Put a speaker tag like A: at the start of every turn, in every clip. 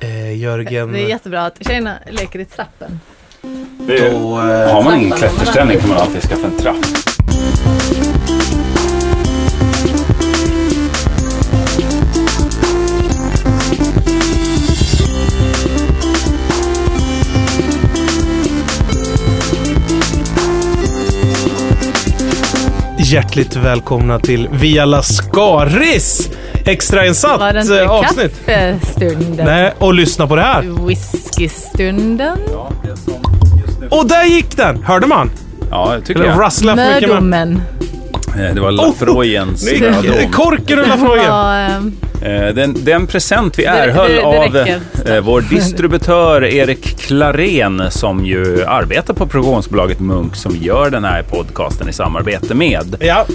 A: Eh, Jörgen.
B: Det är jättebra att tjejerna leker i trappen.
C: Det är,
A: Då, eh,
C: har man ingen klätterställning kan man alltid skaffa en trapp.
A: Hjärtligt välkomna till Via Lascaris! Extrainsatt
B: Var det inte
A: eh, avsnitt.
B: kaffestunden?
A: Nej, och lyssna på det här.
B: Whiskystunden?
A: Och där gick den! Hörde man?
C: Ja, jag tycker
A: Eller Oh,
C: jag.
A: rassla för mycket med.
B: Mördomen.
C: Eh, Det var Lafroigens
A: Nej,
C: radom.
A: Korken rullade från ögat.
B: Ja, ehm,
C: Eh, Den, den present vi
B: det-
C: erhöll
B: det
C: av
B: räcker.
C: eh, vår distributör Erik Klarén som ju arbetar på produktionsbolaget Munk som gör den här podcasten i samarbete med.
A: Ja,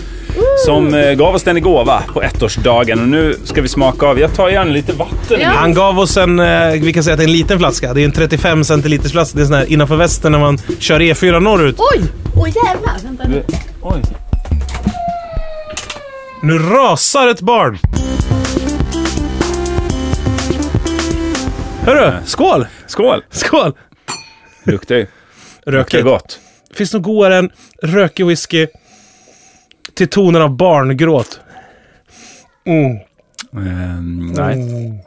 C: Som eh, gav oss den i gåva på ettårsdagen och nu ska vi smaka av. Jag tar gärna lite vatten.
B: Ja.
A: han gav oss en, eh, vi kan säga att det är en liten flaska. Det är en 35 centiliters flaska. Det är sån här innanför västen när man kör E4 norrut.
B: Oj! Åh jävlar! Vänta. nu.
C: Oj.
A: Nu rasar ett barn. Hörru, skål!
C: Skål!
A: Skål!
C: Luktar ju. Luktar
A: Rökigt.
C: gott.
A: Finns något godare än rökig whisky till tonen av barngråt? Mm.
C: Eh, nej.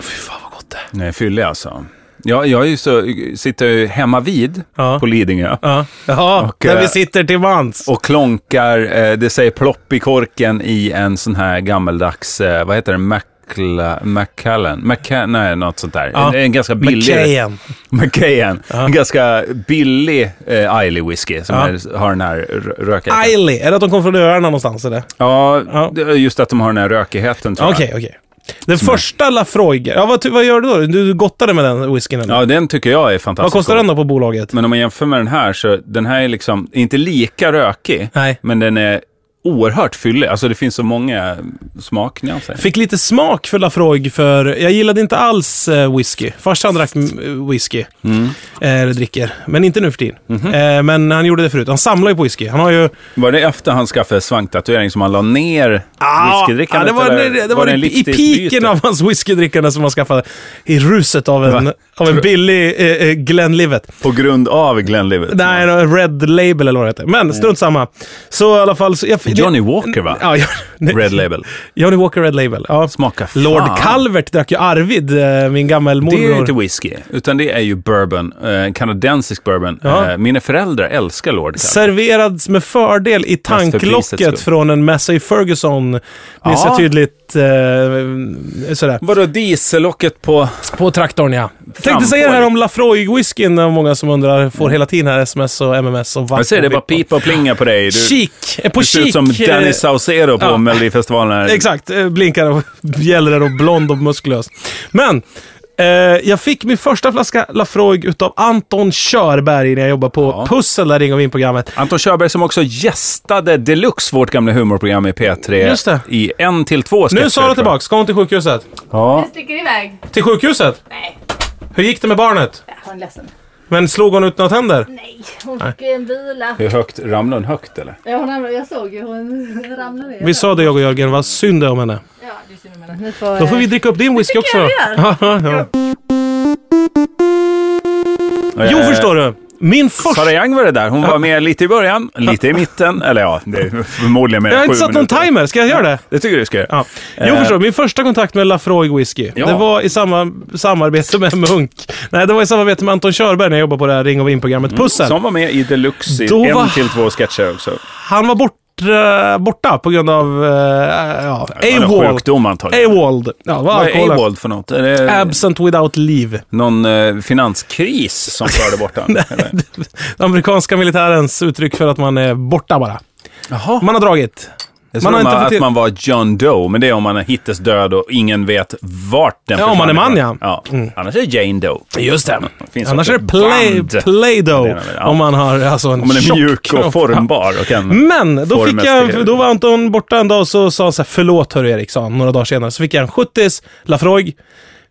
A: Fy fan vad gott det är.
C: nej, fyllig alltså. Ja, jag är ju så, sitter ju hemma vid
A: Ja.
C: på Lidingö.
A: Ja, Jaha,
C: Och,
A: där
C: eh,
A: vi sitter till mans.
C: och klonkar, eh, det säger plopp i korken i en sån här gammeldags, eh, vad heter det, Macla, Macallan, Maca, nej något sånt där.
A: Ja.
C: En, en ganska billig,
A: McKayen.
C: Macahan. en ganska billig eh, Islay whisky som
A: Ja.
C: är, har den här rö- rökigheten.
A: Isley. Är det att de kom från öarna någonstans eller?
C: Ja,
A: Ja.
C: det är just att de har den här rökigheten tror
A: Okej, okej. Den första Lafroig. Ja, vad, ty- vad gör du då? Du gottade med den whiskyn eller?
C: jag. Ja, den tycker jag är fantastisk.
A: vad kostar den då på bolaget?
C: Men om man jämför med den här så, den här är liksom, inte lika rökig,
A: Nej.
C: men den är oerhört fyllig. Alltså det finns så många smaknyanser.
A: Fick lite smak för Lafroig för jag gillade inte alls eh, whisky. Farsan drack mm, whisky. Eh, Eller dricker. Men inte nu för tiden.
C: Mhm.
A: Eh, men han gjorde det förut. Han samlar ju på whisky. Han har ju...
C: Var det efter han skaffade svanktatuering som han la ner
A: Ah, ja,
C: whiskydrickandet?
A: det var,
C: eller
A: det, det var,
C: en
A: i, i
C: livsstilsbyte?
A: piken av hans whiskydrickande som han skaffade. I ruset av en,
C: Va?
A: av en billig eh, eh, Glenlivet.
C: På grund av Glenlivet?
A: Nej, det var Red Label eller vad det heter. Men strunt samma. Så i alla fall... Så jag,
C: Mm. Johnny Walker va?
A: Ja, ja, nej.
C: Red Label.
A: Johnny Walker Red Label. Ja.
C: Smaka fan.
A: Lord Calvert drack ju Arvid, eh, min gammelmorbror.
C: Det är ju inte whisky, utan det är ju bourbon. Eh, kanadensisk bourbon.
A: Ja.
C: Eh, mina föräldrar älskar Lord Calvert.
A: Serverades med fördel i
C: för prisets skull.
A: tanklocket från en Massey Ferguson. Minns
C: Ja.
A: jag tydligt. Eh, sådär.
C: Vadå diesellocket på...
A: På traktorn, ja. Tänkte
C: Framgår.
A: säga det här om Lafroig-whiskyn. Det är många som undrar. Får hela tiden här sms och mms och vatten.
C: Jag säger det, bara pipa och plinga på dig. Du,
A: Chic! Eh, På
C: du ser ut
A: chic!
C: som
A: eh,
C: Danny Saucedo på
A: ja.
C: Melodifestivalen. här.
A: Exakt, eh, blinkar och gäller och blond och muskulös. Men eh, jag fick min första flaska Lafroig utav Anton Körberg när jag jobbade på
C: Ja.
A: Pussel, där ringar vi in programmet.
C: Anton Körberg som också gästade deluxe, vårt gamla humorprogram i P3,
A: Just det.
C: i en till två sketcher.
A: Nu är Sara
C: tror jag.
A: tillbaks, kom till sjukhuset.
C: Ja.
B: Jag sticker iväg.
A: Till sjukhuset?
B: Nej,
A: Hur gick det med barnet?
B: jag har en ledsen.
A: Men slog hon ut några tänder?
B: Nej, hon fick ju en vila.
C: Hur högt? Ramlade hon högt eller?
B: Ja, hon ramlade, jag såg ju hon ramlade ner.
A: Vi sa det jag och Jörgen, vad synd det är om henne.
B: Ja, det är synd om henne. Nu får,
A: Då får vi dricka upp din whisky också.
B: jag vi
A: Ja, ja. Jo,
C: Eh,
A: förstår du. Min
C: Sara
A: första...
C: Young var det där. Hon var med lite i början, lite i mitten. Eller ja, det är förmodligen mer
A: Jag har
C: än
A: inte
C: sju
A: satt någon
C: minuter.
A: timer, ska jag göra det?
C: Det tycker du ska göra.
A: Ja. Jo,
C: Eh.
A: förstår du. Min första kontakt med Lafroig Whisky,
C: Ja.
A: det var i samma, samarbete med Munk. Nej, det var i samarbete med Anton Körberg när jag jobbade på det här Ring och In-programmet Pussel.
C: Mm. Som var med i Deluxe i
A: Då
C: en
A: var-
C: till två sketcher också.
A: Han var bort, eh, borta på grund av... eh, ja,
C: Det var en
A: AWOL.
C: sjukdom antagligen.
A: AWOL. Ja, var
C: Vad är
A: alkohol.
C: AWOL för något? Är det
A: Absent without leave.
C: någon eh, finanskris som förde bort honom? eller?
A: Den amerikanska militärens uttryck för att man är borta bara.
C: Jaha.
A: Man har dragit.
C: Jag
A: Man
C: man
A: har inte fått
C: att
A: till-
C: man var John Doe, men det är om man hittas död och ingen vet vart den
A: Ja, om man är
C: försvann
A: man,
C: ifrån.
A: ja. Mm.
C: Annars är det Jane Doe.
A: Just det.
C: Finns
A: Annars
C: också
A: är det play,
C: band.
A: Play-Doh.
C: Det är det, ja.
A: Om man har alltså en
C: Om man är
A: tjock
C: mjuk och
A: kropp. Mm.
C: formbar och kan...
A: Men då, fick
C: Formes till-
A: jag, då var Anton borta en dag och så sa han så här, förlåt hörru Erik, sa han några dagar senare. Så fick jag en 70s Lafroig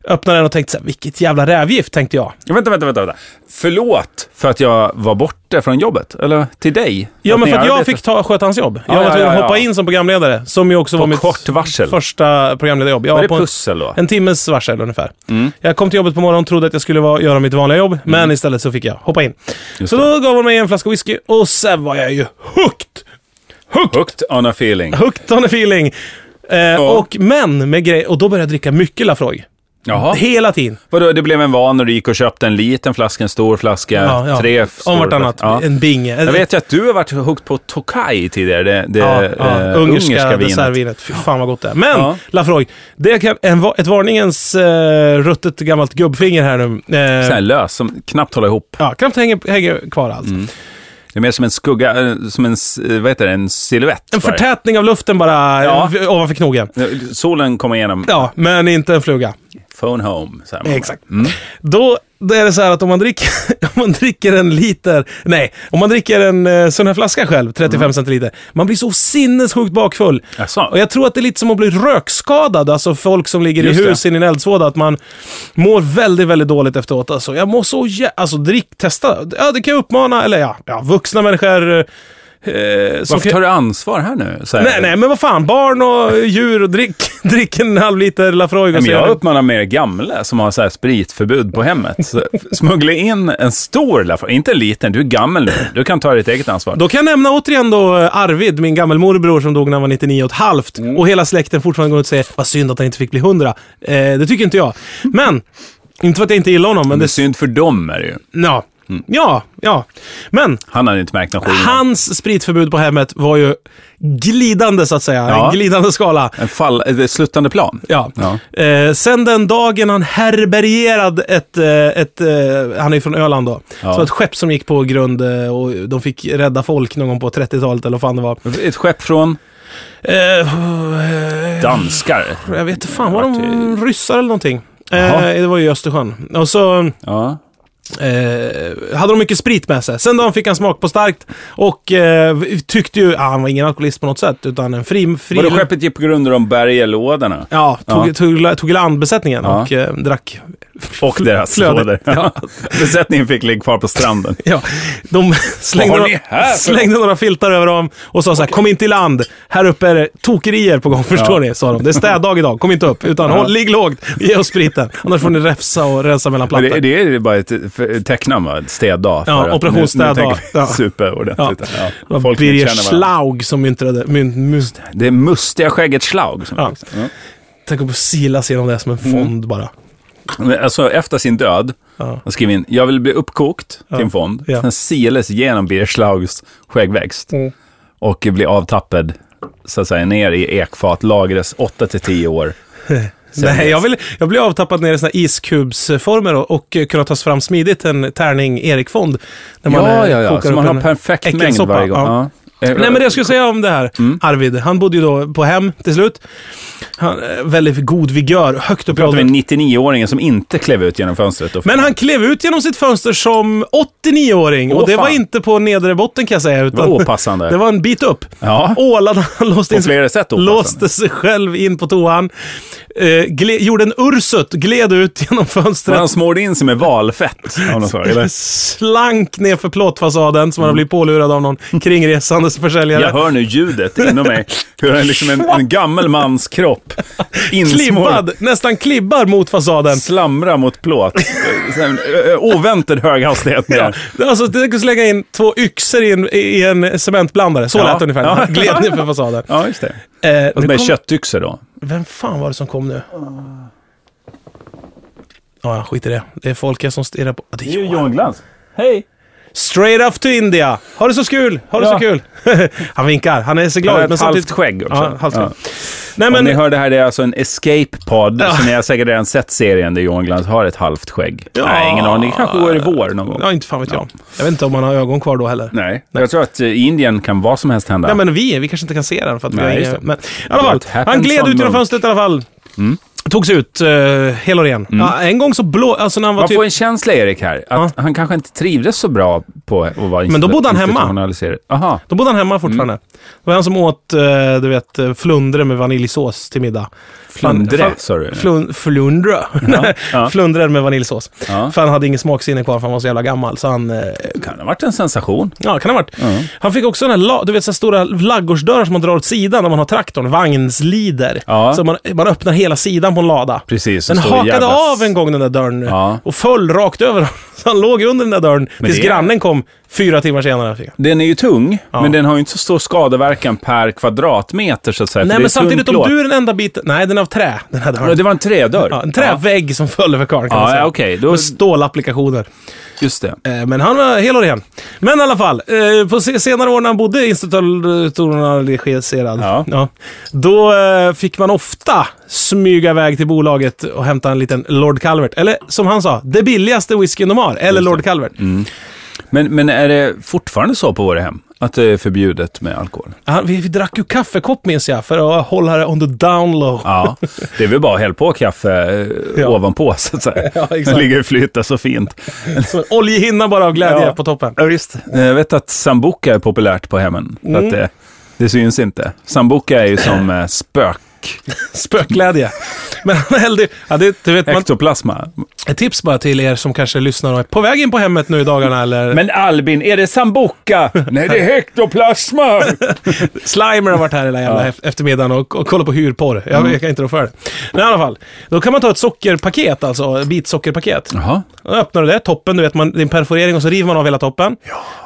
A: Öppnade den och tänkte så här, vilket jävla rävgift, tänkte jag.
C: Ja, Vänta, vänta, vänta, vänta. Förlåt för att jag var borta från jobbet. Eller till dig.
A: Ja, men
C: ni
A: för att jag
C: arbetar-
A: fick ta, sköta hans jobb. jag
C: ja,
A: var tvungen att
C: ja, ja.
A: hoppa in som programledare, som ju också
C: På
A: var mitt
C: kort varsel.
A: första programledarjobb. Jag
C: Var det
A: på en,
C: pussel då? Mm.
A: en timmes varsel ungefär. Jag kom till jobbet på morgonen trodde att jag skulle vara, göra mitt vanliga jobb, men istället så fick jag hoppa in.
C: Just
A: så då gav hon mig en flaska whisky och sen var jag ju hooked!
C: Hooked on a feeling.
A: Hooked on a feeling. Eh, Och men med grej, och då började jag dricka mycket Lafroig.
C: Jaha.
A: Hela tiden.
C: Vadå, det blev en van och du gick och köpte en liten flaska, en stor flaska,
A: Ja, ja.
C: tre
A: Om
C: stora
A: vartannat.
C: flaskor. Ja.
A: En binge.
C: Jag vet ju att du har varit hooked på Tokaj tidigare, det, det
A: Ja,
C: eh,
A: ja, ungerska, dessertvinet. Fy fan vad gott det är. Men
C: Ja.
A: Lafroig, det kan, en, va- ett varningens eh, ruttet gammalt gubbfinger här nu.
C: Sån här
A: Eh,
C: lös, som knappt håller ihop.
A: ja, knappt hänger, hänger kvar alls.
C: Mm, Det är mer som en skugga, eh, som en, s- eh, vad heter det, en silhuett.
A: En
C: bara.
A: förtätning av luften bara
C: Ja.
A: eh, ovanför knogen.
C: Eh, Solen kommer igenom,
A: Ja, men inte en fluga.
C: phone home. Mm. Så här.
A: Exakt. Då, då är det så här att om man dricker, om man dricker en liter, nej, om man dricker en eh, sån här flaska själv, 35
C: Mm.
A: centiliter, man blir så sinnessjukt bakfull.
C: Jaså?
A: Och jag tror att det är lite som att bli rökskadad, alltså folk som ligger
C: Just
A: i
C: det.
A: hus i en eldsvåda, att man mår väldigt, väldigt dåligt efteråt. Alltså, jag mår så jä- Alltså drick, testa. Ja, det kan jag uppmana, eller ja, ja vuxna människor. Eh, som
C: Varför
A: kan...
C: tar du ansvar här nu? Så här.
A: Nej, nej, men vad fan, barn och djur och drick, drick en halv liter Lafroig och
C: Men
A: så
C: jag
A: gör-
C: uppmanar mer gamla som har så här spritförbud på hemmet. Så Smuggla in en stor Lafroig, inte en liten. Du är gammal nu. Du kan ta ditt eget ansvar.
A: Då kan jag nämna återigen då eh, Arvid, min gammelmorbror som dog när han var 99 och ett halvt.
C: Mm.
A: Och hela släkten fortfarande går ut och säger vad synd att han inte fick bli 100. Eh, det tycker inte jag. Men, inte för att jag inte gillar honom, men
C: Det är
A: det...
C: synd för dem är det ju.
A: Ja,
C: Mm.
A: ja, ja. Men,
C: Han hade inte märkt någon skillnad.
A: hans spritförbud på hemmet var ju glidande så att säga.
C: Ja.
A: En glidande skala.
C: En fall, eh, ett slutande plan.
A: Ja.
C: Ja.
A: Eh, sen den dagen han herbergerade ett, eh, ett eh, han är ju från Öland då,
C: Ja.
A: så ett skepp som gick på grund eh, och de fick rädda folk någon gång på 30-talet eller vad fan det var.
C: Ett skepp från
A: Eh,
C: danskar.
A: jag vet inte fan, var
C: Vart
A: de ryssar eller någonting? Eh,
C: Jaha.
A: det var ju i Östersjön. Och så
C: Ja.
A: eh, hade de mycket sprit med sig. Sen då fick han smak på starkt och eh, tyckte ju, ah, han var ingen alkoholist på något sätt, utan en fri... fri
C: Vadå, skeppet gick på grund av de berglådorna?
A: Ja, tog,
C: Ja.
A: Tog, tog i land besättningen
C: Ja.
A: och eh, drack.
C: Och deras
A: Flödet.
C: lådor.
A: Ja.
C: Besättningen fick ligga kvar på stranden.
A: Ja, de slängde,
C: Vad har
A: några,
C: ni här för-
A: slängde några filtar över dem och sa så här, kom inte i land. Här uppe är det tokerier på gång, förstår ni? Sa de. Det är städdag idag, kom inte upp. Utan håll, ligg lågt, ge oss spriten. Annars får ni refsa och rensa mellan
C: Men
A: plattor.
C: det, det är ju bara ett för- ett tecknamn, va? Ett städdag.
A: Ja,
C: för att
A: operation städdag.
C: Nu, nu tänker vi
A: Ja.
C: superordentligt.
A: Ja. Det
C: Ja.
A: var
C: Folk
A: Birger
C: känner varandra.
A: Schlaug som myntade... Mynt, mynt,
C: Det är mustiga skägget Schlaug. Som
A: Ja.
C: Ja.
A: liksom.
C: Mm.
A: tänk att silas genom det som en fond bara.
C: Men Alltså, efter sin död,
A: Ja.
C: han skrev in, jag vill bli uppkokt till en fond,
A: Ja.
C: sen siles genom Birger Schlaugs skäggväxt
A: Mm.
C: och bli avtappad så att säga, ner i ekfat, lagras 8-10 år. Sen
A: Nej,
C: dess.
A: jag, vill, jag blir avtappad ner i såna iskubsformer och, och eh, kunna tas fram smidigt en tärning Erik-fond. När man
C: ja,
A: eh,
C: ja, ja.
A: kokar
C: Så
A: upp
C: man har
A: en
C: perfekt mängd
A: äckelsoppa.
C: varje gång.
A: Ja.
C: Ja. Mm. Eh,
A: Nej, men det jag skulle säga om det här, Arvid, han bodde ju då på hem till slut. Han, eh, väldigt god vigör, högt upp i
C: pratar vi
A: åldern.
C: 99-åringen som inte klev ut genom fönstret. Och
A: Men han klev ut genom sitt fönster som 89-åring
C: Åh,
A: och det var
C: fan.
A: inte på nedre botten kan jag säga. Utan
C: det var opassande.
A: det var en bit upp.
C: Ja,
A: Ålade han låste
C: på
A: in sig
C: flera sätt opassande.
A: Låste sig själv in på toan. Eh, gle- gjorde en ursut, gled ut genom
C: Men alltså-
A: fönstret.
C: han smorde in sig med valfett av något slag, eller?
A: Slank ner för plåtfasaden som han hade blivit pålurad av någon kringresande försäljare.
C: Jag hör nu ljudet inom mig. Hur en, liksom en, en gammal mans kropp insmord,
A: Klibbad, nästan klibbar mot fasaden.
C: slamrar mot plåt. Sen, ö, oväntad hög hastighet.
A: Ja.
C: ner.
A: Alltså, det kunde slänga in två yxor i en, i en cementblandare. Så
C: Ja.
A: lät det ungefär.
C: Ja.
A: Gled ner för fasaden.
C: Ja, just det.
A: Eh,
C: Och
A: nu
C: med
A: kom,
C: köttyxor då.
A: vem fan var det som kom nu? Ja, skit i det. Det är folk här som stirrar på... Ja, Det är Johan.
C: Glans. Hej!
A: Straight off to India! Har det så kul! Har det
C: Ja.
A: så kul! han vinkar. Han är så
C: Jag
A: glad.
C: har ett
A: men samtidigt...
C: halvt skägg också.
A: Ja, halvt skägg.
C: Ja.
A: Nej,
C: Om
A: men...
C: ni hör det här, det är alltså en escape-podd.
A: Ja.
C: Så ni har säkert redan sett serien där Johan Glans har ett halvt skägg.
A: Ja.
C: Nej, ingen aning. Det kanske går i vår någon gång.
A: Ja, inte fan vet jag. Jag vet inte om han har ögon kvar då heller. Nej,
C: Nej. Jag tror att eh, i Indien kan vad som helst hända.
A: men vi, vi kanske inte kan se den för att
C: Nej,
A: vi har
C: just
A: inga...
C: det.
A: Men i alla
C: What
A: fall, han
C: happens
A: gled
C: on
A: ut genom
C: Monk?
A: fönstret i alla fall. Tog sig ut eh, hel och ren. Ja, en gång så blå... Alltså när han var
C: Mm. Man
A: typ...
C: får en känsla, Erik, här, att han kanske inte trivdes så bra på att vara
A: Men då bodde han hemma.
C: institutionaliserad. Aha.
A: Då bodde han hemma fortfarande.
C: Mm.
A: Det var han som åt, eh, du vet, eh, flundre med vaniljsås till middag.
C: Flundre,
A: Fan-
C: sa du?
A: Flun, flundre.
C: ja.
A: flundre med vaniljsås.
C: Ja.
A: För han hade ingen smaksinne kvar för han var så jävla gammal. Så han, eh,
C: Kan ha varit en sensation.
A: ja, kan ha varit. Han fick också den här, la- du vet, så här stora laggårdsdörrar som man drar åt sidan när man har traktorn. Vagnslider.
C: Ja.
A: Så man, man öppnar hela sidan på en lada.
C: Precis.
A: Den hakade av en gång den där dörren
C: Ja.
A: och föll rakt över honom. Så han låg under den där dörren
C: Men
A: tills
C: det är-
A: grannen kom fyra timmar senare. Fick han.
C: Den är ju tung,
A: Ja.
C: men den har ju inte så stor skadeverkan per kvadratmeter så att säga. för
A: Nej,
C: det är
A: men samtidigt
C: tungt
A: om
C: plåt.
A: du är den enda biten... Nej, den är av trä, den här
C: Ja,
A: dörren.
C: Det var en trädörr.
A: Ja, en trävägg som föll över karln kan man
C: Ja,
A: säga.
C: ja okej. Då,
A: Med stålapplikationer.
C: just det.
A: Eh, Men han var hel och ren. Men i alla fall, eh, på se- senare år när han bodde institutionaliserad,
C: Ja.
A: ja, då eh, fick man ofta smyga iväg till bolaget och hämta en liten Lord Calvert. Eller som han sa, det billigaste whiskyn de har. Eller
C: Just det. Mm.
A: Lord Calvert.
C: Men, men är det fortfarande så på våra hem? Att det är förbjudet med alkohol?
A: Han, vi, vi drack ju kaffekopp minns jag, för att hålla det on the down low.
C: Ja, det är väl bara att hälla på kaffe eh,
A: Ja.
C: ovanpå så att säga.
A: Ja, exakt.
C: Den ligger och flyter så fint.
A: Som en oljehinna bara av glädje
C: Ja.
A: på toppen.
C: Ja, visst. Jag vet att sambuca är populärt på hemmen. För
A: Mm.
C: att det, det syns inte. Sambuca är ju som eh, spök.
A: Spökglädje. Men han hällde ja, det, du vet, man,
C: Ektoplasma.
A: Ett tips bara till er som kanske lyssnar och är på väg in på hemmet nu i dagarna eller
C: Mm. Men Albin, är det sambuca? Nej, det är hektoplasma!
A: Slimer har varit här hela jävla
C: Ja. Mm.
A: ef- eftermiddagen och, och kollat på hyrporr. Jag, jag kan inte rå för det. Men i alla fall, då kan man ta ett sockerpaket, alltså ett bitsockerpaket.
C: Jaha.
A: Då öppnar du det, toppen, du vet, man, det är en perforering och så river man av hela toppen.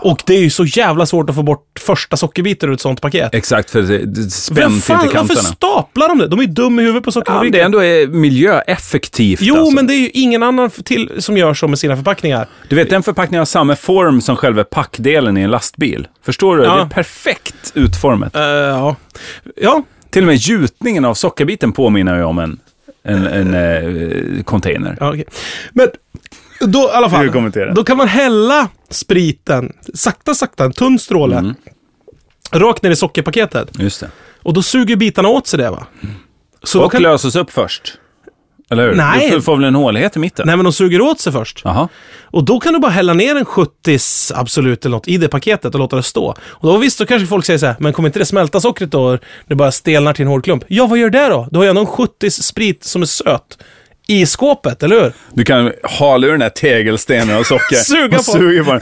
A: Och det är ju så jävla svårt att få bort första sockerbiten ur ett sånt paket.
C: Exakt, för det- det är
A: Vem
C: spänt
A: fan,
C: till
A: varför
C: kanterna.
A: staplar de det? De är ju dumma i huvudet på
C: Ja, men
A: sockerfabriken.
C: det ändå är miljöeffektivt.
A: Jo,
C: alltså.
A: men det är ju ingen annan f- till som gör så med sina förpackningar.
C: Du vet, den förpackningen har samma form som själva packdelen i en lastbil. Förstår du?
A: Ja.
C: Det är perfekt utformat.
A: Eh, ja. ja,
C: Till och med gjutningen av sockerbiten påminner ju om en, en, en eh, container.
A: Ja, okej. Men då i alla
C: Du
A: fall,
C: kommenterar.
A: då kan man hälla spriten, sakta sakta, en tunn stråle, rakt ner i sockerpaketet.
C: Just det.
A: Och då suger bitarna åt sig det va? Så då
C: Och
A: kan,
C: löses upp först. Eller hur?
A: Nej.
C: Du får- får väl en hålighet i mitten?
A: nej men de suger åt sig först.
C: Jaha.
A: Och då kan du bara hälla ner en 70s Absolut eller något i det paketet och låta det stå. Och då visst, då kanske folk säger så här, men kommer inte det smälta sockret då? Det bara stelnar till en hård klump. Ja, vad gör det då? Du har ju ändå en 70s sprit som är söt i skåpet, eller hur?
C: Du kan hala ur den här tegelstenen av socker.
A: Suga
C: Och
A: på.
C: Suga på den.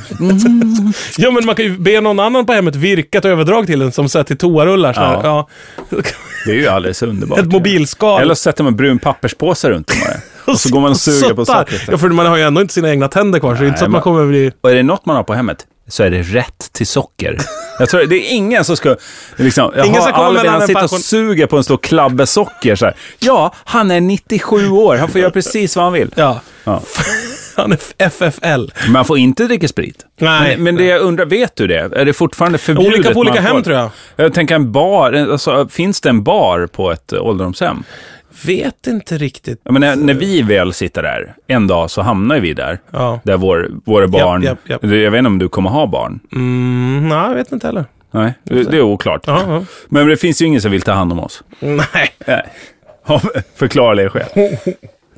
A: Ja, men man kan ju be någon annan på hemmet virka ett överdrag till den som så här till toarullar. Så här, ja.
C: Det är ju alldeles underbart.
A: Ett mobilskal.
C: Eller så sätter man brun papperspåse runt den bara. Och så går man och suger på
A: suttar.
C: sockret.
A: Ja, för man har ju ändå inte sina egna tänder kvar, så det är inte så att
C: Nej,
A: man kommer bli...
C: Och är det något man har på hemmet så är det rätt till socker. Jag tror det är ingen som ska... Liksom, jag
A: Ingen
C: har
A: som kommer
C: Albin,
A: mellan
C: han
A: en
C: sitter och
A: passion-
C: suger på en stor klabbe socker. Så här. Ja, han är 97 år. Han får göra precis vad han vill.
A: Ja.
C: Ja.
A: Han är FFL.
C: Men han får inte dricka sprit.
A: Nej.
C: Men, men det jag undrar, vet du det? Är det fortfarande förbjudet?
A: Olika på olika
C: man
A: hem,
C: får-
A: tror jag.
C: Jag tänker en bar. Alltså, finns det en bar på ett eh, ålderdomshem?
A: Vet inte riktigt.
C: Jag menar, när vi väl sitter där, en dag så hamnar vi där.
A: Ja.
C: Där vår, våra barn...
A: japp, japp.
C: Jag vet inte om du kommer ha barn.
A: Mm, nej, jag vet inte heller.
C: Nej, det, det är oklart.
A: Ja, ja.
C: Men det finns ju ingen som vill ta hand om oss.
A: Nej.
C: Nej. Av förklarliga skäl.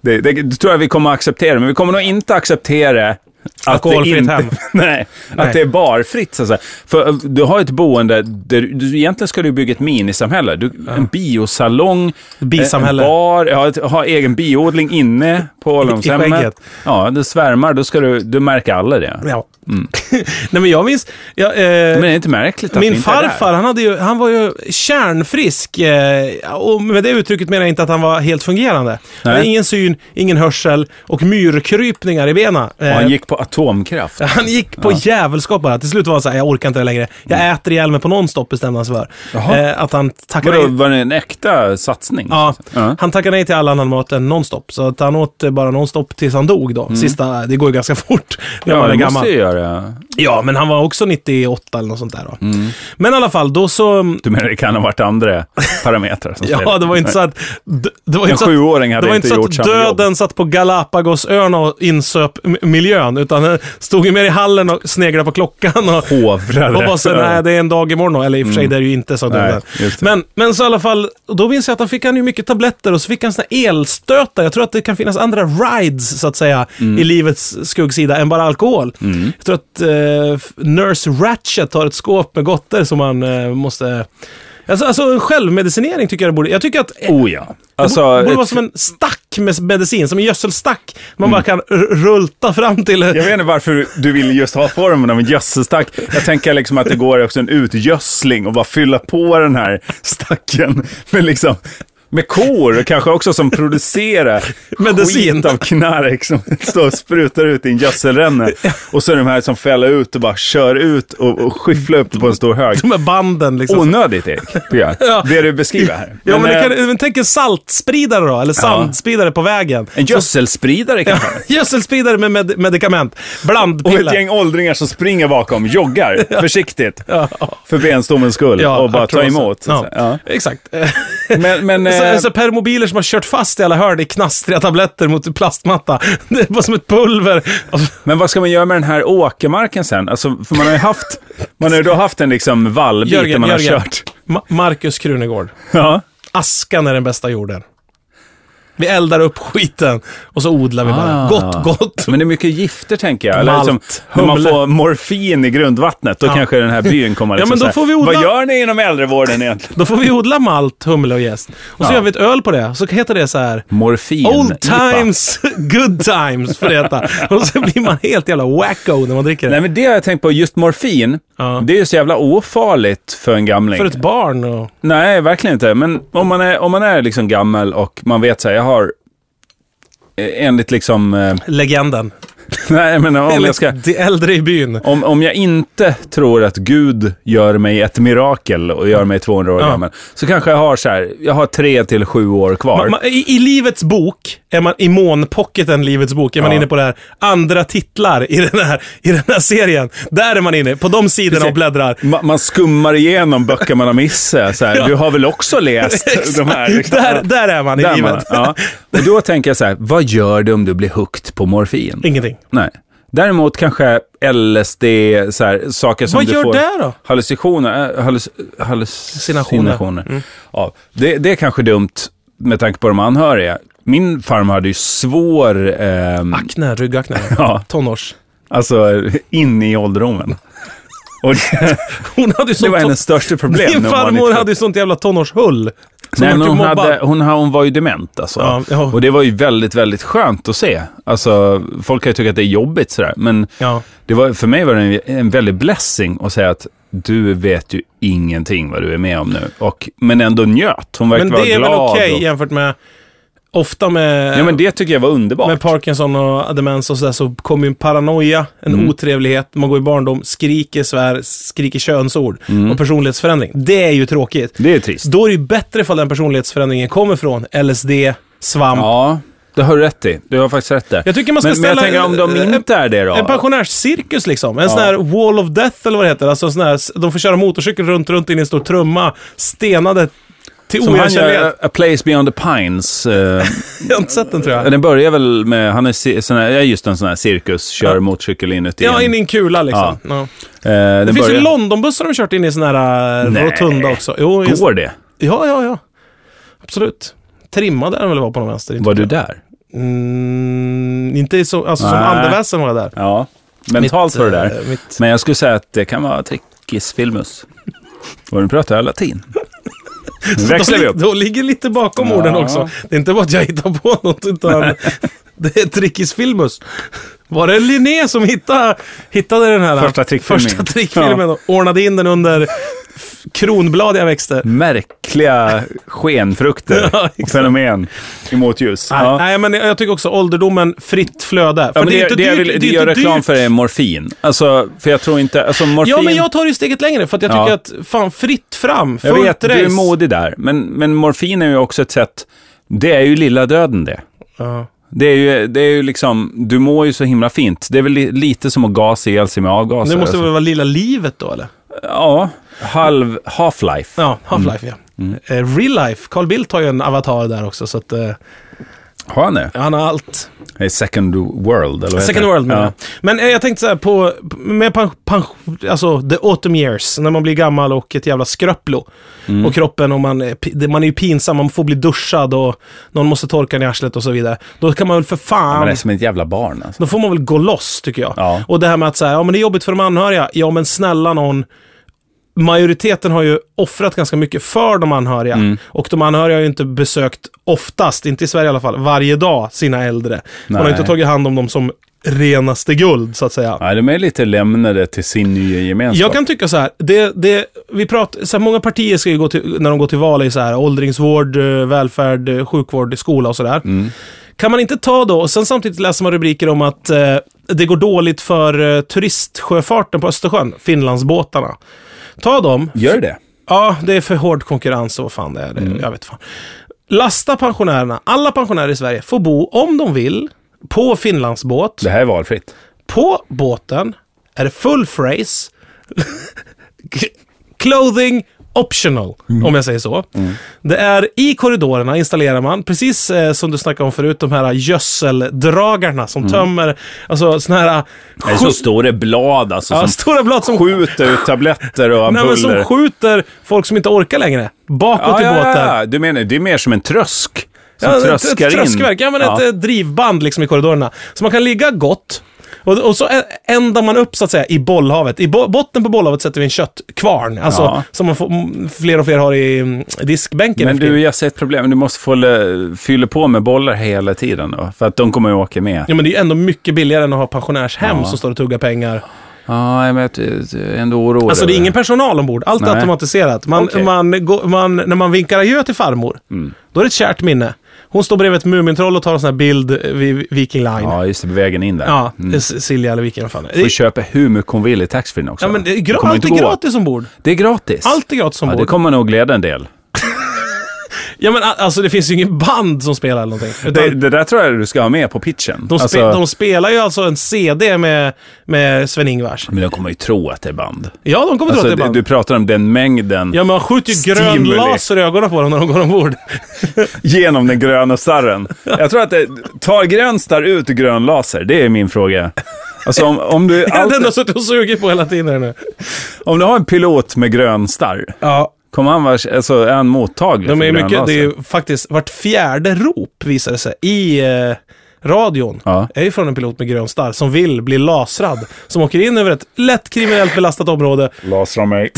C: Det, det, det tror jag vi kommer att acceptera, men vi kommer nog inte acceptera att det,
A: Alkoholfritt
C: inte,
A: hem.
C: nej,
A: Nej.
C: att det är barfritt. Så att säga. För eh, du har ett boende, där, du, egentligen ska du bygga ett minisamhälle. Du, En biosalong,
A: Bisamhälle.
C: eh, en bar, ja, ett, ha egen biodling inne på
A: I
C: ålderdomshemmet.
A: skägget.
C: Ja, det svärmar, då ska du, du märker alla det.
A: Ja. nej, men jag minns... Jag, eh,
C: Mm. Men det är inte märkligt att vi
A: Min
C: inte är där.
A: farfar, han, hade ju, han var ju kärnfrisk. Eh, och med det uttrycket menar jag inte att han var helt fungerande. Han hade
C: Nej.
A: ingen syn, ingen hörsel och myrkrypningar i benen. Eh,
C: Och han gick på atomkraft.
A: han gick på djävulskap bara. Till slut var han såhär, jag orkar inte det längre. Jag äter ihjäl mig på nonstop, bestämde han sig för.
C: Mm. Jaha.
A: Eh, att han tackade
C: Vadå,
A: nej.
C: var det en äkta satsning?
A: Ja,
C: Ja.
A: han tackade nej till all annan mat än nonstop. Så att han åt eh, bara nonstop tills han dog då. Sista, det går ju ganska fort när
C: Mm. Ja,
A: man är
C: det
A: gammal.
C: måste ju göra.
A: Ja, men han var också 98 eller något sånt där då.
C: Mm.
A: Men i alla fall, då så...
C: Du menar det kan ha varit andra parametrar som
A: Ja,
C: spelade?
A: det var inte så att... d- Det var
C: En
A: inte så att,
C: sjuåring hade
A: det var
C: inte
A: inte så
C: gjort
A: att
C: samma jobb.
A: döden satt på Galapagosöarna och insöp m- miljön, utan eh, stod ju mer i hallen och sneglade på klockan. Och,
C: Hovrade.
A: och bara så, nej det är en dag imorgon. Eller i och för sig, det är det ju inte. Så
C: Mm. Nej, just det.
A: men, men så i alla fall, och då minns jag att han fick han ju mycket tabletter och så fick han såna elstötar. Jag tror att det kan finnas andra rides, så att säga,
C: Mm.
A: i livets skuggsida än bara alkohol. Jag tror att eh, Nurse Ratchet har ett skåp med gotter som man eh, måste... Alltså, alltså en självmedicinering tycker jag det borde... Jag tycker att...
C: Oh ja. Alltså,
A: det borde, borde
C: ett-
A: vara som en stack med medicin, som en gödselstack. Man bara
C: Mm.
A: kan r- rulta fram till...
C: Jag vet inte varför du vill just ha formen av en gödselstack. Jag tänker liksom att det går också en utgödsling och bara fylla på den här stacken med liksom med kor och kanske också som producerar
A: Medicin.
C: skit av knark som står och sprutar ut i en gödselränna. Och så är det de här som fäller ut och bara kör ut och, och skyfflar upp det på en stor hög.
A: Med banden liksom.
C: Onödigt Erik, tycker
A: Ja.
C: jag. det du beskriver här.
A: Ja, men,
C: eh,
A: det kan, men tänk en saltspridare då, eller sandspridare på vägen.
C: En gödselspridare kanske?
A: Gödselspridare med med medikament.
C: Och ett
A: Blandpiller.
C: gäng åldringar som springer bakom, joggar försiktigt. För benstommens skull och bara ta
A: artros.
C: emot.
A: Ja,
C: Ja.
A: exakt.
C: Men, men eh,
A: så, så permobiler som har kört fast i alla hörn i knastriga tabletter mot plastmatta. Det är bara som ett pulver.
C: Men vad ska man göra med den här åkermarken sen? Alltså, för man har ju haft, man har ju då haft en liksom vallbit där
A: Jörgen,
C: man
A: Jörgen.
C: har kört.
A: Ma- Marcus Krunegård.
C: Ja.
A: Askan är den bästa jorden. Vi eldar upp skiten och så odlar vi bara.
C: Ah.
A: Gott, gott.
C: Men det är mycket gifter tänker jag. liksom,
A: Malt,
C: när man
A: humle.
C: får morfin i grundvattnet, då
A: Ja.
C: kanske den här byn
A: Ja,
C: kommer liksom
A: men då
C: så här,
A: får vi odla-
C: Vad gör ni inom äldrevården egentligen?
A: Då får vi odla malt, humle och jäst. Och så
C: Ja.
A: gör vi ett öl på det. Så heter det så här.
C: Morfin.
A: Old
C: IPA.
A: times, good times får det heta. Och så blir man helt jävla wacko när man dricker
C: Nej,
A: det.
C: men det har jag tänkt på. Just morfin,
A: Ja.
C: det är ju så jävla ofarligt för en gamling.
A: För ett barn och...
C: Nej, verkligen inte. Men om man är, om man är liksom gammal och man vet så här, jag har eh, enligt liksom... eh,
A: Legenden.
C: Nej, men om
A: Eller
C: jag ska...
A: de äldre i byn.
C: Om, om jag inte tror att Gud gör mig ett mirakel och gör mig 200 år
A: Ja.
C: gammal, så kanske jag har så här, jag har tre till sju år kvar.
A: Man, man, i, I livets bok, är man, i månpocketen Livets bok, är man
C: Ja.
A: inne på det här andra titlar i den här, i den här serien. Där är man inne, på de sidorna och bläddrar.
C: Ma- man skummar igenom böcker man har missat. Så här, Du har väl också läst de här? liksom.
A: Där, där är man i
C: Där man,
A: livet.
C: ja. Och då tänker jag så här, vad gör det om du blir hooked på morfin?
A: Ingenting.
C: Nej. Däremot kanske LSD, så här, saker som
A: Vad
C: du
A: gör
C: får...
A: det då?
C: Hallucinationer. eh, Hallus, hallucinationer.
A: Mm.
C: Ja, det, det är kanske dumt med tanke på de anhöriga. Min farmor hade ju svår... ehm,
A: Akne, ryggakne.
C: ja,
A: Tonårs.
C: alltså in i ålderdomen. Och det,
A: Hon hade ju
C: det
A: sånt...
C: var hennes största problem.
A: Din
C: när hon var
A: farmor
C: liten.
A: hade ju sånt jävla tonårshull. Som typ
C: Nej, men
A: vart ju
C: hon,
A: mobbad.
C: hade, hon, ha- hon var ju dement alltså.
A: Ja, ja.
C: Och det var ju väldigt, väldigt skönt att se. Alltså, folk kan ju tycka att det är jobbigt sådär. Men
A: Ja.
C: det var, för mig var det en, en väldig blessing att säga att du vet ju ingenting vad du är med om nu. Och, men ändå njöt. Hon verkade
A: Men
C: vara
A: det är
C: glad.
A: väl okej
C: och,
A: jämfört med... Ofta med,
C: ja, men det tycker jag var underbart.
A: med Parkinson och demens och sådär så kommer ju en paranoia, en
C: Mm.
A: otrevlighet, man går i barndom, skriker svär, skriker könsord
C: Mm.
A: och personlighetsförändring. Det är ju tråkigt.
C: det är trist.
A: Då är det ju bättre ifall den personlighetsförändringen kommer från LSD, svamp.
C: Ja, det har du rätt i. Du har faktiskt rätt där.
A: Jag tycker man ska
C: men, men jag
A: ställa
C: tänker om de
A: en-
C: inte är det då?
A: En pensionärscirkus liksom. En sån här wall of death eller vad det heter. Alltså sån här, de får köra motorcykel runt, runt in i en stor trumma, stenade till
C: Som han gör,
A: oigenkännlighet.
C: A- A Place Beyond the Pines. eh,
A: Jag har inte sett den tror
C: Ja,
A: jag.
C: den börjar väl med, han är ci- sån här, ja, just en sån här cirkus, kör
A: Ja.
C: motorcykel inuti.
A: Ja,
C: en-
A: in i en kula liksom.
C: Ja.
A: Ja.
C: Eh, den
A: Det finns ju
C: börjar-
A: Londonbussar de kört in i sån här eh,
C: Nej.
A: rotunda också. Jo, just,
C: Går det?
A: ja, ja, ja. Absolut. Trimmade den väl var på någon vänster. inte
C: Var du
A: vet jag.
C: där?
A: Mm, inte i så, alltså som
C: Nej.
A: andeväsen var jag där.
C: Ja, mentalt var du där.
A: eh, Mitt,
C: Men jag skulle säga att det kan vara trickis filmus. Och nu pratar jag latin. Nu växlar vi upp.
A: Då ligger lite bakom orden
C: Ja.
A: också. Det är inte bara att jag hittar på något, utan det är Trickis Filmus. Var det Linné som hittade, hittade den här
C: Första trickfilmen.
A: första trickfilmen och ordnade in den under f- kronbladiga växter?
C: Märkliga skenfrukter
A: Ja,
C: och fenomen i motljus.
A: Nej,
C: Ja.
A: nej, men jag tycker också ålderdomen, fritt flöde. För
C: Ja, men
A: det, är
C: det,
A: inte
C: det jag
A: dyrt.
C: vill
A: det är
C: göra
A: inte
C: reklam
A: dyrt.
C: för är morfin. Alltså, för jag tror inte... Alltså morfin...
A: Ja, men jag tar det ju steget längre för att jag
C: Ja.
A: tycker att fan, fritt fram,
C: Jag
A: fullt
C: vet, du är
A: race.
C: modig där. Men, men morfin är ju också ett sätt... Det är ju lilla döden det.
A: Ja.
C: Det är, ju, det är ju liksom, du mår ju så himla fint. Det är väl li, lite som att gasa ihjäl sig med avgaser.
A: Det måste
C: alltså.
A: väl vara lilla livet då, eller?
C: Ja, halv, half-life. Mm.
A: Ja, Half-Life ja. Eh, Real Life, Carl Bildt har ju en avatar där också så att... Eh,
C: Har han det?
A: Han har allt.
C: I second world, eller vad
A: Second
C: heter det?
A: World menar jag. Men eh, jag tänkte så här på, med pen, pen, alltså the autumn years, när man blir gammal och ett jävla skröplo.
C: Mm.
A: Och kroppen, och man, är pi- det- man är ju pinsam, man får bli duschad och någon måste torka en i arslet och så vidare. Då kan man väl för fan...
C: Man är som ett jävla barn alltså.
A: Då får man väl gå loss, tycker jag.
C: Ja.
A: Och det här med att så här, ja men det är jobbigt för de anhöriga. Ja men snälla någon. Majoriteten har ju offrat ganska mycket för de anhöriga.
C: Mm.
A: Och de anhöriga har ju inte besökt, oftast, inte i Sverige i alla fall, varje dag sina äldre. Man har
C: Nej.
A: inte tagit hand om dem som renaste guld, så att säga.
C: Nej, de är lite lämnade till sin nya gemenskap.
A: Jag kan tycka så här, det, det, vi pratar, så här många partier ska ju gå till, när de går till val i så här åldringsvård, eh, välfärd, eh, sjukvård, skola och sådär. Kan man inte ta då, och sen samtidigt läser man rubriker om att eh, det går dåligt för eh, turistsjöfarten på Östersjön, Finlandsbåtarna. Ta dem,
C: Gör det?
A: ja det är för hård konkurrens och vad fan det är, det, jag vet fan. Lasta pensionärerna, alla pensionärer i Sverige får bo, om de vill, på Finlandsbåt
C: Det här är valfritt.
A: på båten är det full phrase, clothing optional,
C: Mm.
A: om jag säger så. Det är i korridorerna installerar man, precis eh, som du snackade om förut, de här gödseldragarna som tömmer, alltså såna här
C: Det är
A: sju-
C: Mm. så stora blad alltså,
A: ja,
C: som
A: stora blad som,
C: skjuter ut tabletter och
A: nej,
C: ampuller.
A: men som skjuter folk som inte orkar längre bakåt i båten.
C: ja, du menar, det är mer som en trösk. Som
A: Ja,
C: tröskar
A: ett, ett
C: in.
A: tröskverk, ja men ett eh, drivband liksom i korridorerna. Så man kan ligga gott. Och, och så ä- ändar man upp så att säga i bollhavet. I bo botten på bollhavet sätter vi en köttkvarn. Alltså
C: Ja.
A: som man får, m, fler och fler har i mm, diskbänken.
C: Men
A: nu för
C: du,
A: tiden.
C: jag ser ett problem. Du måste få le- fylla på med bollar hela tiden då, för att de kommer att åka med.
A: Ja men det är ju ändå mycket billigare än att ha pensionärshem
C: Ja.
A: som står och tuggar pengar.
C: Ja, men jag är ändå orolig.
A: Alltså det är
C: över
A: ingen personal ombord, allt är
C: Nej.
A: automatiserat. Man,
C: Okej. Mm.
A: man, går- man, när man vinkar adjö till farmor, då är det ett kärt minne. Hon står bredvid ett Mumintroll och tar en sån här bild vid Viking Line. Ja,
C: Ja, just det, på vägen in där.
A: Silja eller vilken fan.
C: Du får köpa hur mycket hon vill i taxfree också.
A: Ja, men det är
C: Det
A: gra-
C: kommer
A: allt
C: inte
A: är
C: gå.
A: gratis ombord.
C: Det är gratis.
A: Allt är gratis
C: ja, det
A: ombord.
C: kommer nog glädja en del.
A: Ja, men a- alltså det finns ju ingen band som spelar eller någonting. Utan
C: Det, det där tror jag du ska ha med på pitchen.
A: de, spe-
C: Alltså,
A: de spelar ju alltså en CD med, med Sven-Ingvars.
C: Men de kommer ju tro att det är band.
A: Ja, de kommer tro att det
C: Alltså,
A: är band.
C: du pratar om den mängden
A: Ja, men man skjuter ju grön
C: Stimuli.
A: laser i ögonen på dem när de går ombord.
C: genom den gröna starren. Jag tror att det tar grön starr ut grön laser. Det är min fråga. Alltså om, om, du
A: Det är det
C: alltid,
A: enda jag suttit och sugit på hela tiden här nu.
C: om du har en pilot med grön starr,
A: Ja,
C: kommer han vara, alltså är han mottaglig
A: de
C: för
A: är
C: grön
A: mycket, det
C: laser?
A: är ju faktiskt vart fjärde rop visar det sig i eh, radion.
C: Ja.
A: är ju från en pilot med grön starr som vill bli lasrad. Som åker in över ett lätt kriminellt belastat område.
C: Lasra mig.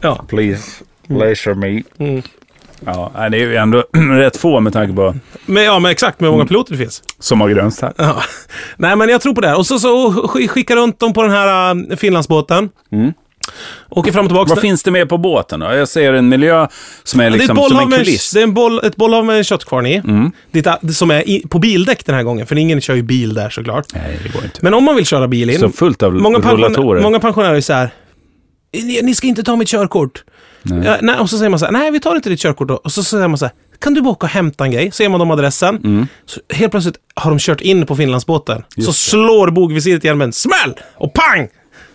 A: Ja. Mm.
C: Please, laser me. Ja, nej, det är ju ändå rätt få med tanke på
A: Men, ja, men exakt med hur
C: Mm.
A: många piloter det finns.
C: som har grön starr.
A: Ja. Nej, men jag tror på det här. Och så, så sk- skicka runt dem på den här äh, Finlandsbåten. Åker fram och tillbaka.
C: Mm. Vad finns det med på båten då? Jag ser en miljö som är
A: det är, ett
C: liksom som
A: bollhav
C: en
A: med,
C: kuliss. Mm.
A: det är en boll, ett bollhav med en köttkvarn i. Det är, som är i, på bildäck den här gången, för ingen kör ju bil där såklart.
C: Nej, det går inte.
A: Men om man vill köra bil in.
C: Så fullt av
A: många, pensionärer,
C: rullatorer.
A: många pensionärer är så här. Ni, ni ska inte ta mitt körkort. Ja, nej, och så säger man så här, nej vi tar inte ditt körkort då. Och så säger man så här, kan du bara åka och hämta en grej? Så ger man dem adressen.
C: Mm.
A: Så helt plötsligt har de kört in på Finlandsbåten. så slår bogvisiret igen med en smäll! Och pang!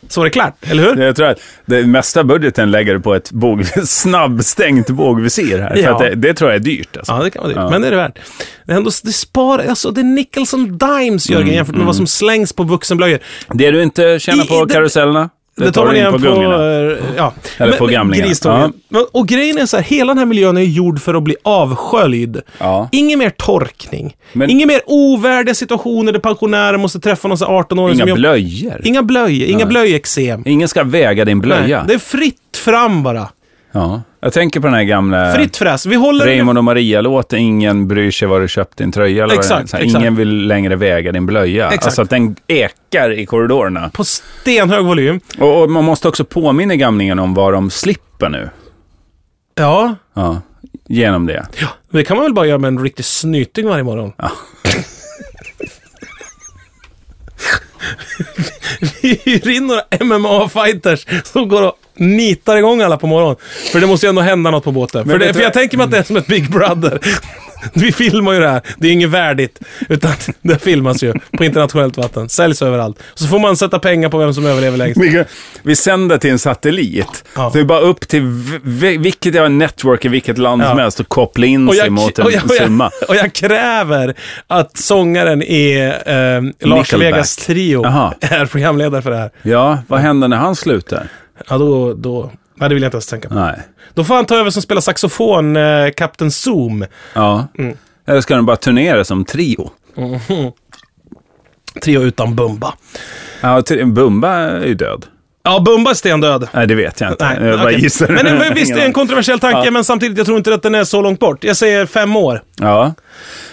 A: Så var det klart, eller hur?
C: Jag tror att det mesta budgeten lägger du på ett bog, snabbstängt bågvisir här. För
A: Ja.
C: att det, det tror jag är dyrt. Alltså.
A: Ja, det kan vara dyrt.
C: Ja.
A: Men det är det värt. Det är ändå, det sparar, alltså det är nickels and dimes
C: Mm,
A: Jörgen jämfört med vad som slängs på vuxenblöjor.
C: Det du inte tjänar
A: I-
C: på
A: det-
C: karusellerna, det,
A: Det tar man
C: du
A: igen
C: in
A: på,
C: på gungorna.
A: eh, ja.
C: Eller på
A: Men- men
C: gamlingen.
A: Gristången. Men- Och grejen är så här, hela den här miljön är ju gjord för att bli avsköljd.
C: Ja.
A: Ingen mer torkning.
C: Men-
A: Inga mer ovärdiga situationer där pensionärer måste träffa någon så här 18-åring
C: Inga
A: som jag-
C: blöjor.
A: Inga blöjor. Inga blöjexem.
C: Ingen ska väga din blöja.
A: Nej, Det är fritt fram bara.
C: ja. Jag tänker på den här gamla
A: Fritt fräs. Vi håller...
C: Raymond och Maria-låten, ingen bryr sig var du köpt din tröja. Eller vad det är.
A: Exakt,
C: Så här,
A: exakt.
C: Ingen vill längre väga din blöja.
A: Exakt.
C: Alltså att den ekar i korridorerna.
A: På stenhög volym.
C: Och, och man måste också påminna gamlingen om vad de slipper nu.
A: Ja.
C: Ja. Genom det.
A: Det kan man väl bara göra med en riktig snyting varje morgon.
C: Ja.
A: Vi hyr in några MMA-fighters som går och nitar igång alla på morgonen. För det måste ju ändå hända något på båten. För,
C: vet
A: det,
C: du
A: för jag
C: vad-
A: tänker mig att det är som ett Big Brother. Vi filmar ju det här. Det är inget värdigt. Utan det filmas ju på internationellt vatten. Säljs överallt. Så får man sätta pengar på vem som överlever längst.
C: Vi, vi sänder till en satellit.
A: Ja.
C: Så det är bara upp till v- v- vilket jag network i vilket land
A: Ja.
C: som helst och koppla in sig mot en
A: och, jag, och,
C: summa.
A: jag, och jag kräver att sångaren i eh, Lars
C: Nickelback.
A: Vegas trio
C: Jaha.
A: är programledare för det här.
C: Ja, vad händer när han slutar?
A: Ja, då... då nej, det vill jag inte ens tänka på.
C: Nej.
A: Då får han ta över som spelar saxofon, eh, Captain Zoom.
C: Ja.
A: Mm.
C: Eller ska de bara turnera som trio?
A: Trio utan Bumba.
C: Ja, tri- Bumba är ju död.
A: Ja, Bumba är stendöd.
C: Nej, det vet jag inte.
A: Nej,
C: jag bara
A: okej.
C: gissar.
A: Men det, visst, det är en kontroversiell tanke,
C: Ja.
A: men samtidigt, jag tror inte att den är så långt bort. Jag säger fem år.
C: Ja.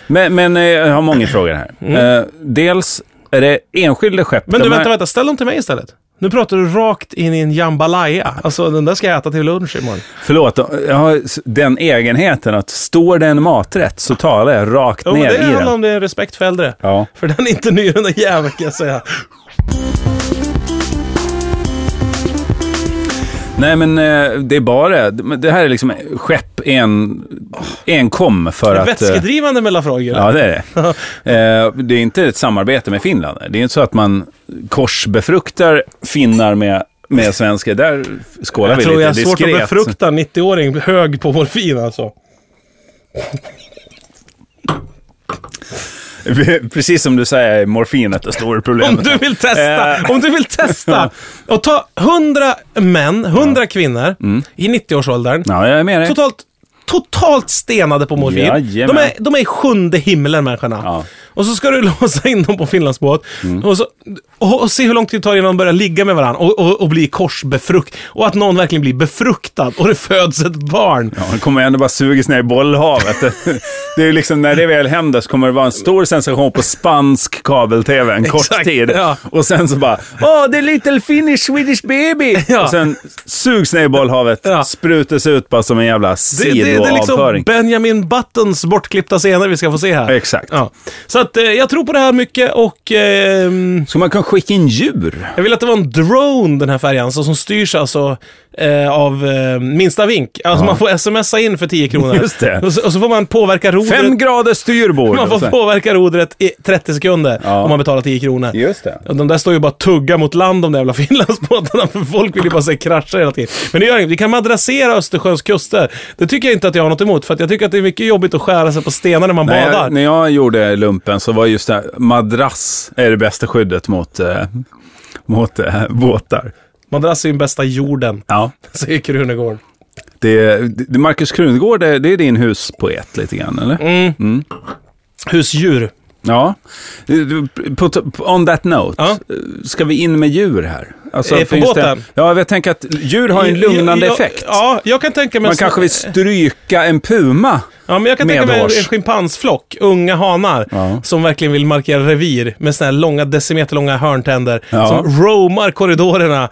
C: Men, men eh, jag har många frågor här. Eh, dels, är det enskilda skepp?
A: Mm. Men du,
C: De här-
A: vänta, vänta. Ställ dem till mig istället. Nu pratar du rakt in i en jambalaya. Alltså, den där ska jag äta till lunch imorgon.
C: Förlåt, jag har s- den egenheten att står det en maträtt så talar jag rakt
A: Jo, men
C: ner
A: det
C: i
A: handlar
C: den.
A: om det är respekt för äldre.
C: Ja.
A: För den är inte ny den där jäveln kan jag säga.
C: Nej, men eh, det är bara, men det här är liksom skepp en, enkom för att... eh,
A: Vätskedrivande med Lafroiger.
C: Ja, det är det. Eh, det är inte ett samarbete med Finland. Det är inte så att man korsbefruktar finnar med, med svenskar. Där skålar
A: jag
C: vi
A: tror
C: lite
A: jag har svårt
C: diskret.
A: att befrukta en 90-åring hög på morfin alltså.
C: Precis som du säger är morfinet det stora
A: Om
C: problemet.
A: du vill testa,
C: Eh.
A: om du vill testa och ta 100 män, 100 kvinnor
C: Mm.
A: i 90-årsåldern.
C: Ja, jag är med dig.
A: Totalt, totalt stenade på morfin.
C: Jajamän.
A: De är, de är i sjunde himlen människorna.
C: Ja. Mm.
A: Och så ska du låsa in dem på Finlandsbåt och, så, och, och se hur lång tid det tar innan de börjar ligga med varandra och, och, och bli korsbefrukt. Och att någon verkligen blir befruktad och det föds ett barn.
C: Ja, det kommer ändå bara sugas ner i bollhavet. Det är ju liksom, när det väl händer så kommer det vara en stor sensation på spansk kabel-tv en kort
A: Exakt,
C: tid.
A: ja.
C: Och sen så bara, åh, the little Finnish Swedish baby!
A: Ja.
C: Och sen sugs ner i bollhavet,
A: Ja.
C: sprutas ut bara som en jävla
A: Det, det, det är liksom
C: sidoavföring.
A: Benjamin Buttons bortklippta scener vi ska få se här.
C: Exakt.
A: Ja. Så att, eh, jag tror på det här mycket och ehm,
C: Så man kan skicka in djur?
A: jag vill att det var en drone den här färjan så, som styrs alltså eh, av eh, minsta vink. Alltså man får smsa in för 10 kronor.
C: Just det.
A: Och, så, och så får man påverka rodret.
C: Fem grader styrbord.
A: man
C: Och
A: får
C: sen-
A: påverka rodret i 30 sekunder
C: Ja.
A: om man betalar 10 kronor.
C: Just det.
A: Och De där står ju bara och tuggar mot land de där jävla Finlandsbåtarna för folk vill ju bara se krascha hela tiden. Men det gör inget, vi kan madrassera Östersjöns kuster. Det tycker jag inte att jag har något emot för att jag tycker att det är mycket jobbigt att skära sig på stenar när man
C: När
A: badar.
C: jag, när jag gjorde lumpen så var just det här, madrass är det bästa skyddet mot, eh, mot eh, båtar.
A: Madrass är ju den bästa jorden,
C: Ja.
A: säger Krunegård.
C: Det, det, Markus Krunegård, det, det är din huspoet lite grann, eller?
A: Husdjur.
C: Ja. Du, På, på- on that note,
A: Ja.
C: ska vi in med djur här? Alltså,
A: Eh, på
C: finns det-
A: båten?
C: Ja, jag tänker att djur har en lugnande
A: Jag- jag-
C: effekt.
A: Ja, jag kan tänka mig...
C: Man kanske vill stryka en puma.
A: Ja, men jag kan tänka mig en-
C: Medhårs.
A: en schimpansflock, unga hanar,
C: Ja.
A: som verkligen vill markera revir med såna här långa, decimeterlånga hörntänder,
C: Ja.
A: som roamar korridorerna.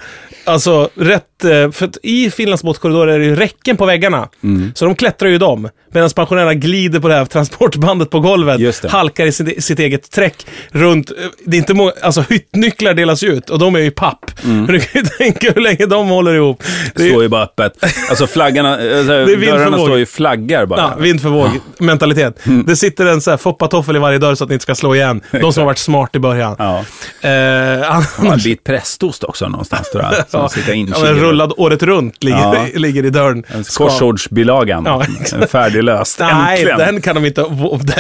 A: Alltså, rätt... eh, För att i Finlands båtkorridorer är det ju räcken på väggarna,
C: Mm.
A: så de klättrar ju dem. Medan pensionärerna glider på det här transportbandet på
C: Just
A: golvet,
C: det.
A: halkar i sitt, sitt eget träck runt... eh, Det är inte må- alltså, hyttnycklar delas ju ut, och de är ju i papp. Men du kan ju tänka hur länge de håller ihop. Det är, ju-
C: Mm. Står ju bara öppet. Alltså flaggarna, alltså,
A: vindförmåga.
C: dörrarna står ju i flaggar bara.
A: Ja, vind för våg mentalitet.
C: Mm.
A: Det sitter en så här foppatoffel i varje dörr så att ni inte ska slå igen. De som har varit smart i början.
C: Ja.
A: Eh,
C: En
A: annars,
C: bit prästost också någonstans tror jag. Som sitter
A: ja, men
C: inkilad.
A: rullad året runt ligger,
C: Ja.
A: ligger i dörren.
C: Korsordsbilagan.
A: Ja,
C: Färdiglöst.
A: Nej,
C: Äntligen.
A: den kan de inte,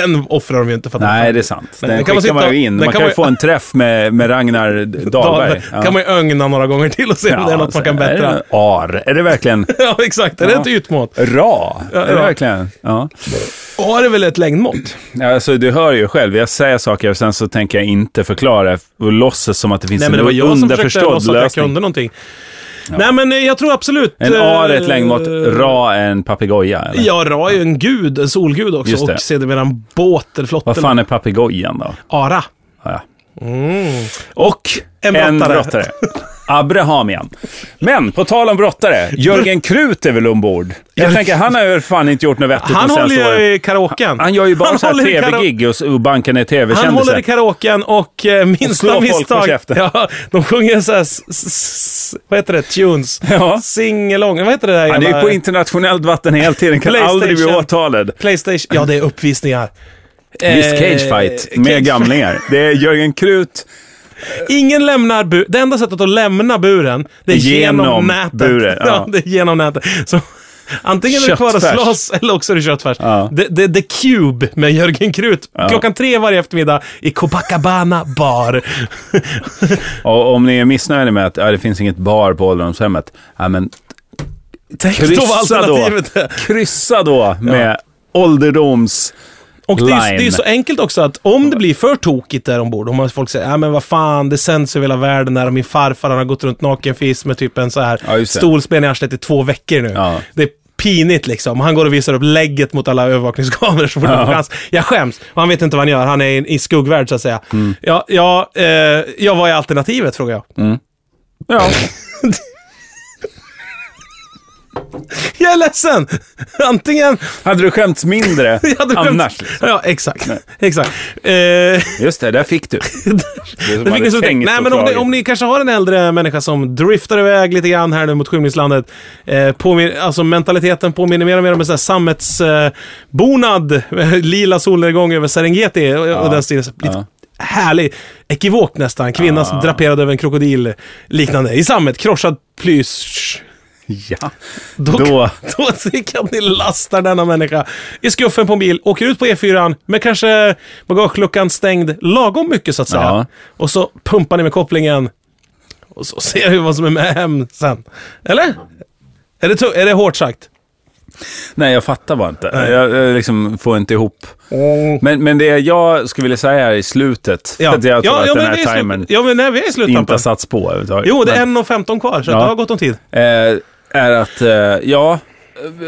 A: den offrar de ju inte för att
C: Nej, det är sant. Den,
A: den kan
C: skickar
A: man
C: man,
A: sitta-
C: ju in.
A: den
C: Man
A: kan
C: kan,
A: man
C: ju få en träff med, med Ragnar Dahlberg.
A: Dahlberg. kan man ju ögna några gånger till och se om det är något man kan
C: Är
A: bättra.
C: det ar? Är det verkligen
A: Ja, exakt. Är det
C: Ja.
A: ett ytmått?
C: ra?
A: Ja,
C: är det
A: ra.
C: verkligen? Ja.
A: Ja, det är väl ett längdmått?
C: Ja, Alltså, du hör ju själv, jag säger saker och sen så tänker jag inte förklara och låtsas som att det finns
A: Nej, men det var
C: en
A: jag som försökte
C: underförstådd
A: låtsas att jag
C: lösning.
A: kunde någonting. Nej, men eh, jag tror absolut...
C: En ar är ett
A: eh,
C: längdmått, ra är en papegoja. eller?
A: Ja, Ra är ju en gud, en solgud
C: Just
A: också.
C: det.
A: Och sedermera en båt eller flotte.
C: Vad fan är papegojan då?
A: Ara.
C: Ja.
A: Och en
C: En
A: brottare.
C: brottare. Abrahamian. Men på tal om brottare, Jörgen Krut är väl ombord? Jag tänker, han har ju fan inte gjort något vettigt
A: Han
C: de senaste
A: håller
C: åren.
A: ju i karaoken.
C: Han gör ju bara så här
A: håller i kara-
C: tv-gig och, och bankar ner
A: Han håller i
C: tv-kändisar.
A: karaoken och eh, minsta
C: slår folk på
A: misstag.
C: käften.
A: Ja, de sjunger så här, s- s- s- vad heter det, tunes.
C: Ja.
A: Singalong, vad heter det där
C: Han är ju
A: jävla-
C: på internationellt vatten hela tiden, kan
A: PlayStation.
C: aldrig bli åtalad.
A: Playstation, ja det är uppvisningar.
C: Visst,
A: Eh,
C: cage fight med
A: cage-
C: gamlingar. Det är Jörgen Krut
A: Ingen lämnar bu- Det enda sättet att lämna buren, det är genom,
C: Genom
A: nätet.
C: buren, ja.
A: det är genom nätet. Så, antingen är det kvar att
C: Köttfärs.
A: slåss eller också är det köttfärs.
C: Ja.
A: The, the, the Cube med Jörgen Krut. Klockan tre varje eftermiddag i Copacabana bar.
C: Och om ni är missnöjda med att ja, det finns inget bar på ålderdomshemmet, ja, men
A: Tänk då vad
C: kryssa då.
A: alternativet är.
C: Kryssa då med ålderdoms...
A: Och det är, ju-
C: Line.
A: det är så enkelt också att om det blir för tokigt där ombord, om man- folk säger ja men vad fan, det sänds över hela världen där och min farfar han har gått runt nakenfis med typ en så här
C: Ja, just det.
A: stolsben i arslet i två veckor nu.
C: Ja.
A: Det är pinigt liksom. Han går och visar upp lägget mot alla övervakningskameror så fort han får chans. Jag skäms. Och han vet inte vad han gör. Han är i, i skuggvärld så att säga.
C: Mm.
A: Ja, ja, eh, ja, vad är alternativet frågar jag.
C: Ja.
A: Jag är ledsen! Antingen...
C: Hade du skämts mindre
A: jag hade glömt-
C: annars? Liksom.
A: Ja, exakt. exakt. Eh,
C: Just det, där fick du. Det
A: Det fick en stor-
C: tänkt
A: Nej,
C: och
A: men om ni,
C: dragit.
A: om ni kanske har en äldre människa som driftar iväg lite grann här nu mot skymningslandet. Eh, påmin- alltså mentaliteten påminner mer och mer om en sån här sammetsbonad eh, bonad, lila solnedgång över Serengeti och, och den stilen. Så Lite Härlig, ekivokt nästan. Kvinna som draperad över en krokodil liknande. I sammet, krossad plysch.
C: Ja.
A: Då,
C: Då-
A: då tycker jag att ni lastar denna människa i skuffen på en bil, åker ut på E4 med kanske bagageluckan stängd lagom mycket så att säga.
C: Ja.
A: Och så pumpar ni med kopplingen. Och så ser vi vad som är med hem sen. Eller? Är det, tu- är det hårt sagt?
C: Nej, jag fattar bara inte. Jag, jag liksom får inte ihop. Men, men det jag skulle vilja säga här i slutet, för att jag tror att den
A: men vi är i
C: här
A: slut-
C: timern
A: Ja, men nej, vi är i
C: inte har
A: sluttampen.
C: satts på överhuvudtaget.
A: Jo, det
C: Men-
A: är 1.15 kvar, så
C: Ja.
A: det har gått om tid.
C: eh, är att, eh, ja,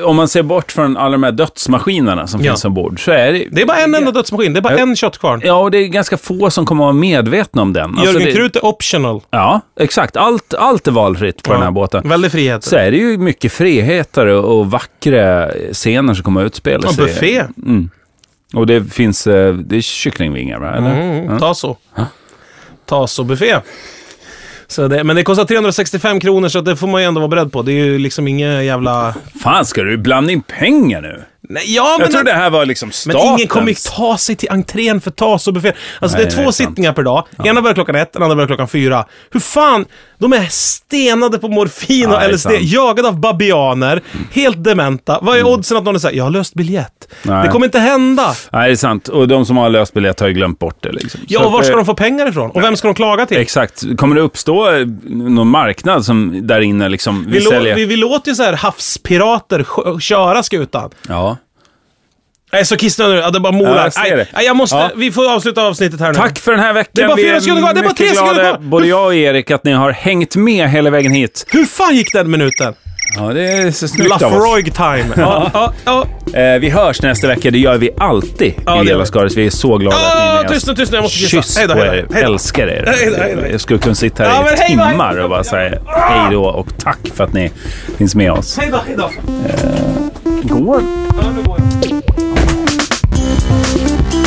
C: om man ser bort från alla de här dödsmaskinerna som
A: Ja.
C: finns ombord så är det...
A: Det är bara en enda dödsmaskin, det är bara
C: Ja.
A: en köttkvarn.
C: Ja, och det är ganska få som kommer att vara medvetna om den. Alltså,
A: Jörgen
C: det,
A: Krut är optional.
C: Ja, exakt. Allt, allt är valfritt på den här
A: Ja.
C: båten.
A: Väldig frihet.
C: Så är det ju mycket friheter och, och vackra scener som kommer att utspela
A: Och
C: sig.
A: buffé.
C: Och det finns, eh, det är kycklingvingar va? Eller?
A: Mm, Taso. Taso-buffé. Så det, men det kostar 365 kronor så att det får man ju ändå vara beredd på. Det är ju liksom inga jävla...
C: Fan, ska du blanda in pengar nu?
A: Nej, ja, men
C: Jag trodde det här var liksom statens.
A: men ingen kommer ju ta sig till entrén för Taso-buffé. Alltså
C: Nej,
A: det är
C: det är
A: två
C: sant.
A: sittningar per dag. Ena börjar klockan ett, den andra börjar klockan fyra. Hur fan? De är stenade på morfin
C: Ja, det är
A: och LSD,
C: sant. Mm.
A: jagade av babianer, helt dementa. Vad är oddsen att någon säger jag har löst biljett?
C: Nej.
A: Det kommer inte hända.
C: Nej, det är sant. Och de som har löst biljett har ju glömt bort det. Liksom.
A: Ja,
C: Så
A: och var
C: att,
A: ska
C: eh,
A: de få pengar ifrån? Och vem ska de klaga till?
C: Exakt. Kommer det uppstå eh, någon marknad som där inne liksom, vi,
A: Vi, lå-
C: säljer?
A: vi, vi låter ju så här havspirater sjö- köra skutan.
C: Ja.
A: Nej, så kissnödig nu. Ja, det bara
C: Ja,
A: molar.
C: jag ser
A: Nej,
C: det.
A: nej, jag måste...
C: Ja.
A: Vi får avsluta avsnittet här nu.
C: Tack för den här veckan.
A: Det är bara
C: Vi
A: fyra sekunder kvar. Det är bara tre
C: mycket
A: sekunder
C: glada,
A: kvar.
C: Både jag och Erik, att ni har hängt med hela vägen hit.
A: Hur fan gick den minuten?
C: Ja, det är så snyggt av oss.
A: Lafroig time. Ja, ja, ja.
C: Eh, vi hörs nästa vecka. Det gör vi alltid
A: det
C: i
A: gör
C: Gela
A: vi.
C: Skaris. Vi är så glada att ni är
A: Ja,
C: med
A: Tyst nu, tyst nu. Jag måste kissa.
C: Kyss
A: Hej då,
C: på
A: hej då,
C: er.
A: hej då.
C: Älskar er.
A: Hej då, hej då, hej då.
C: Jag skulle kunna sitta
A: Ja,
C: här
A: men
C: i
A: hej då, hej då.
C: timmar och bara säga hej då och tack för att ni finns med oss.
A: Hej då, hej då.
C: Går
A: Ja, nu går jag.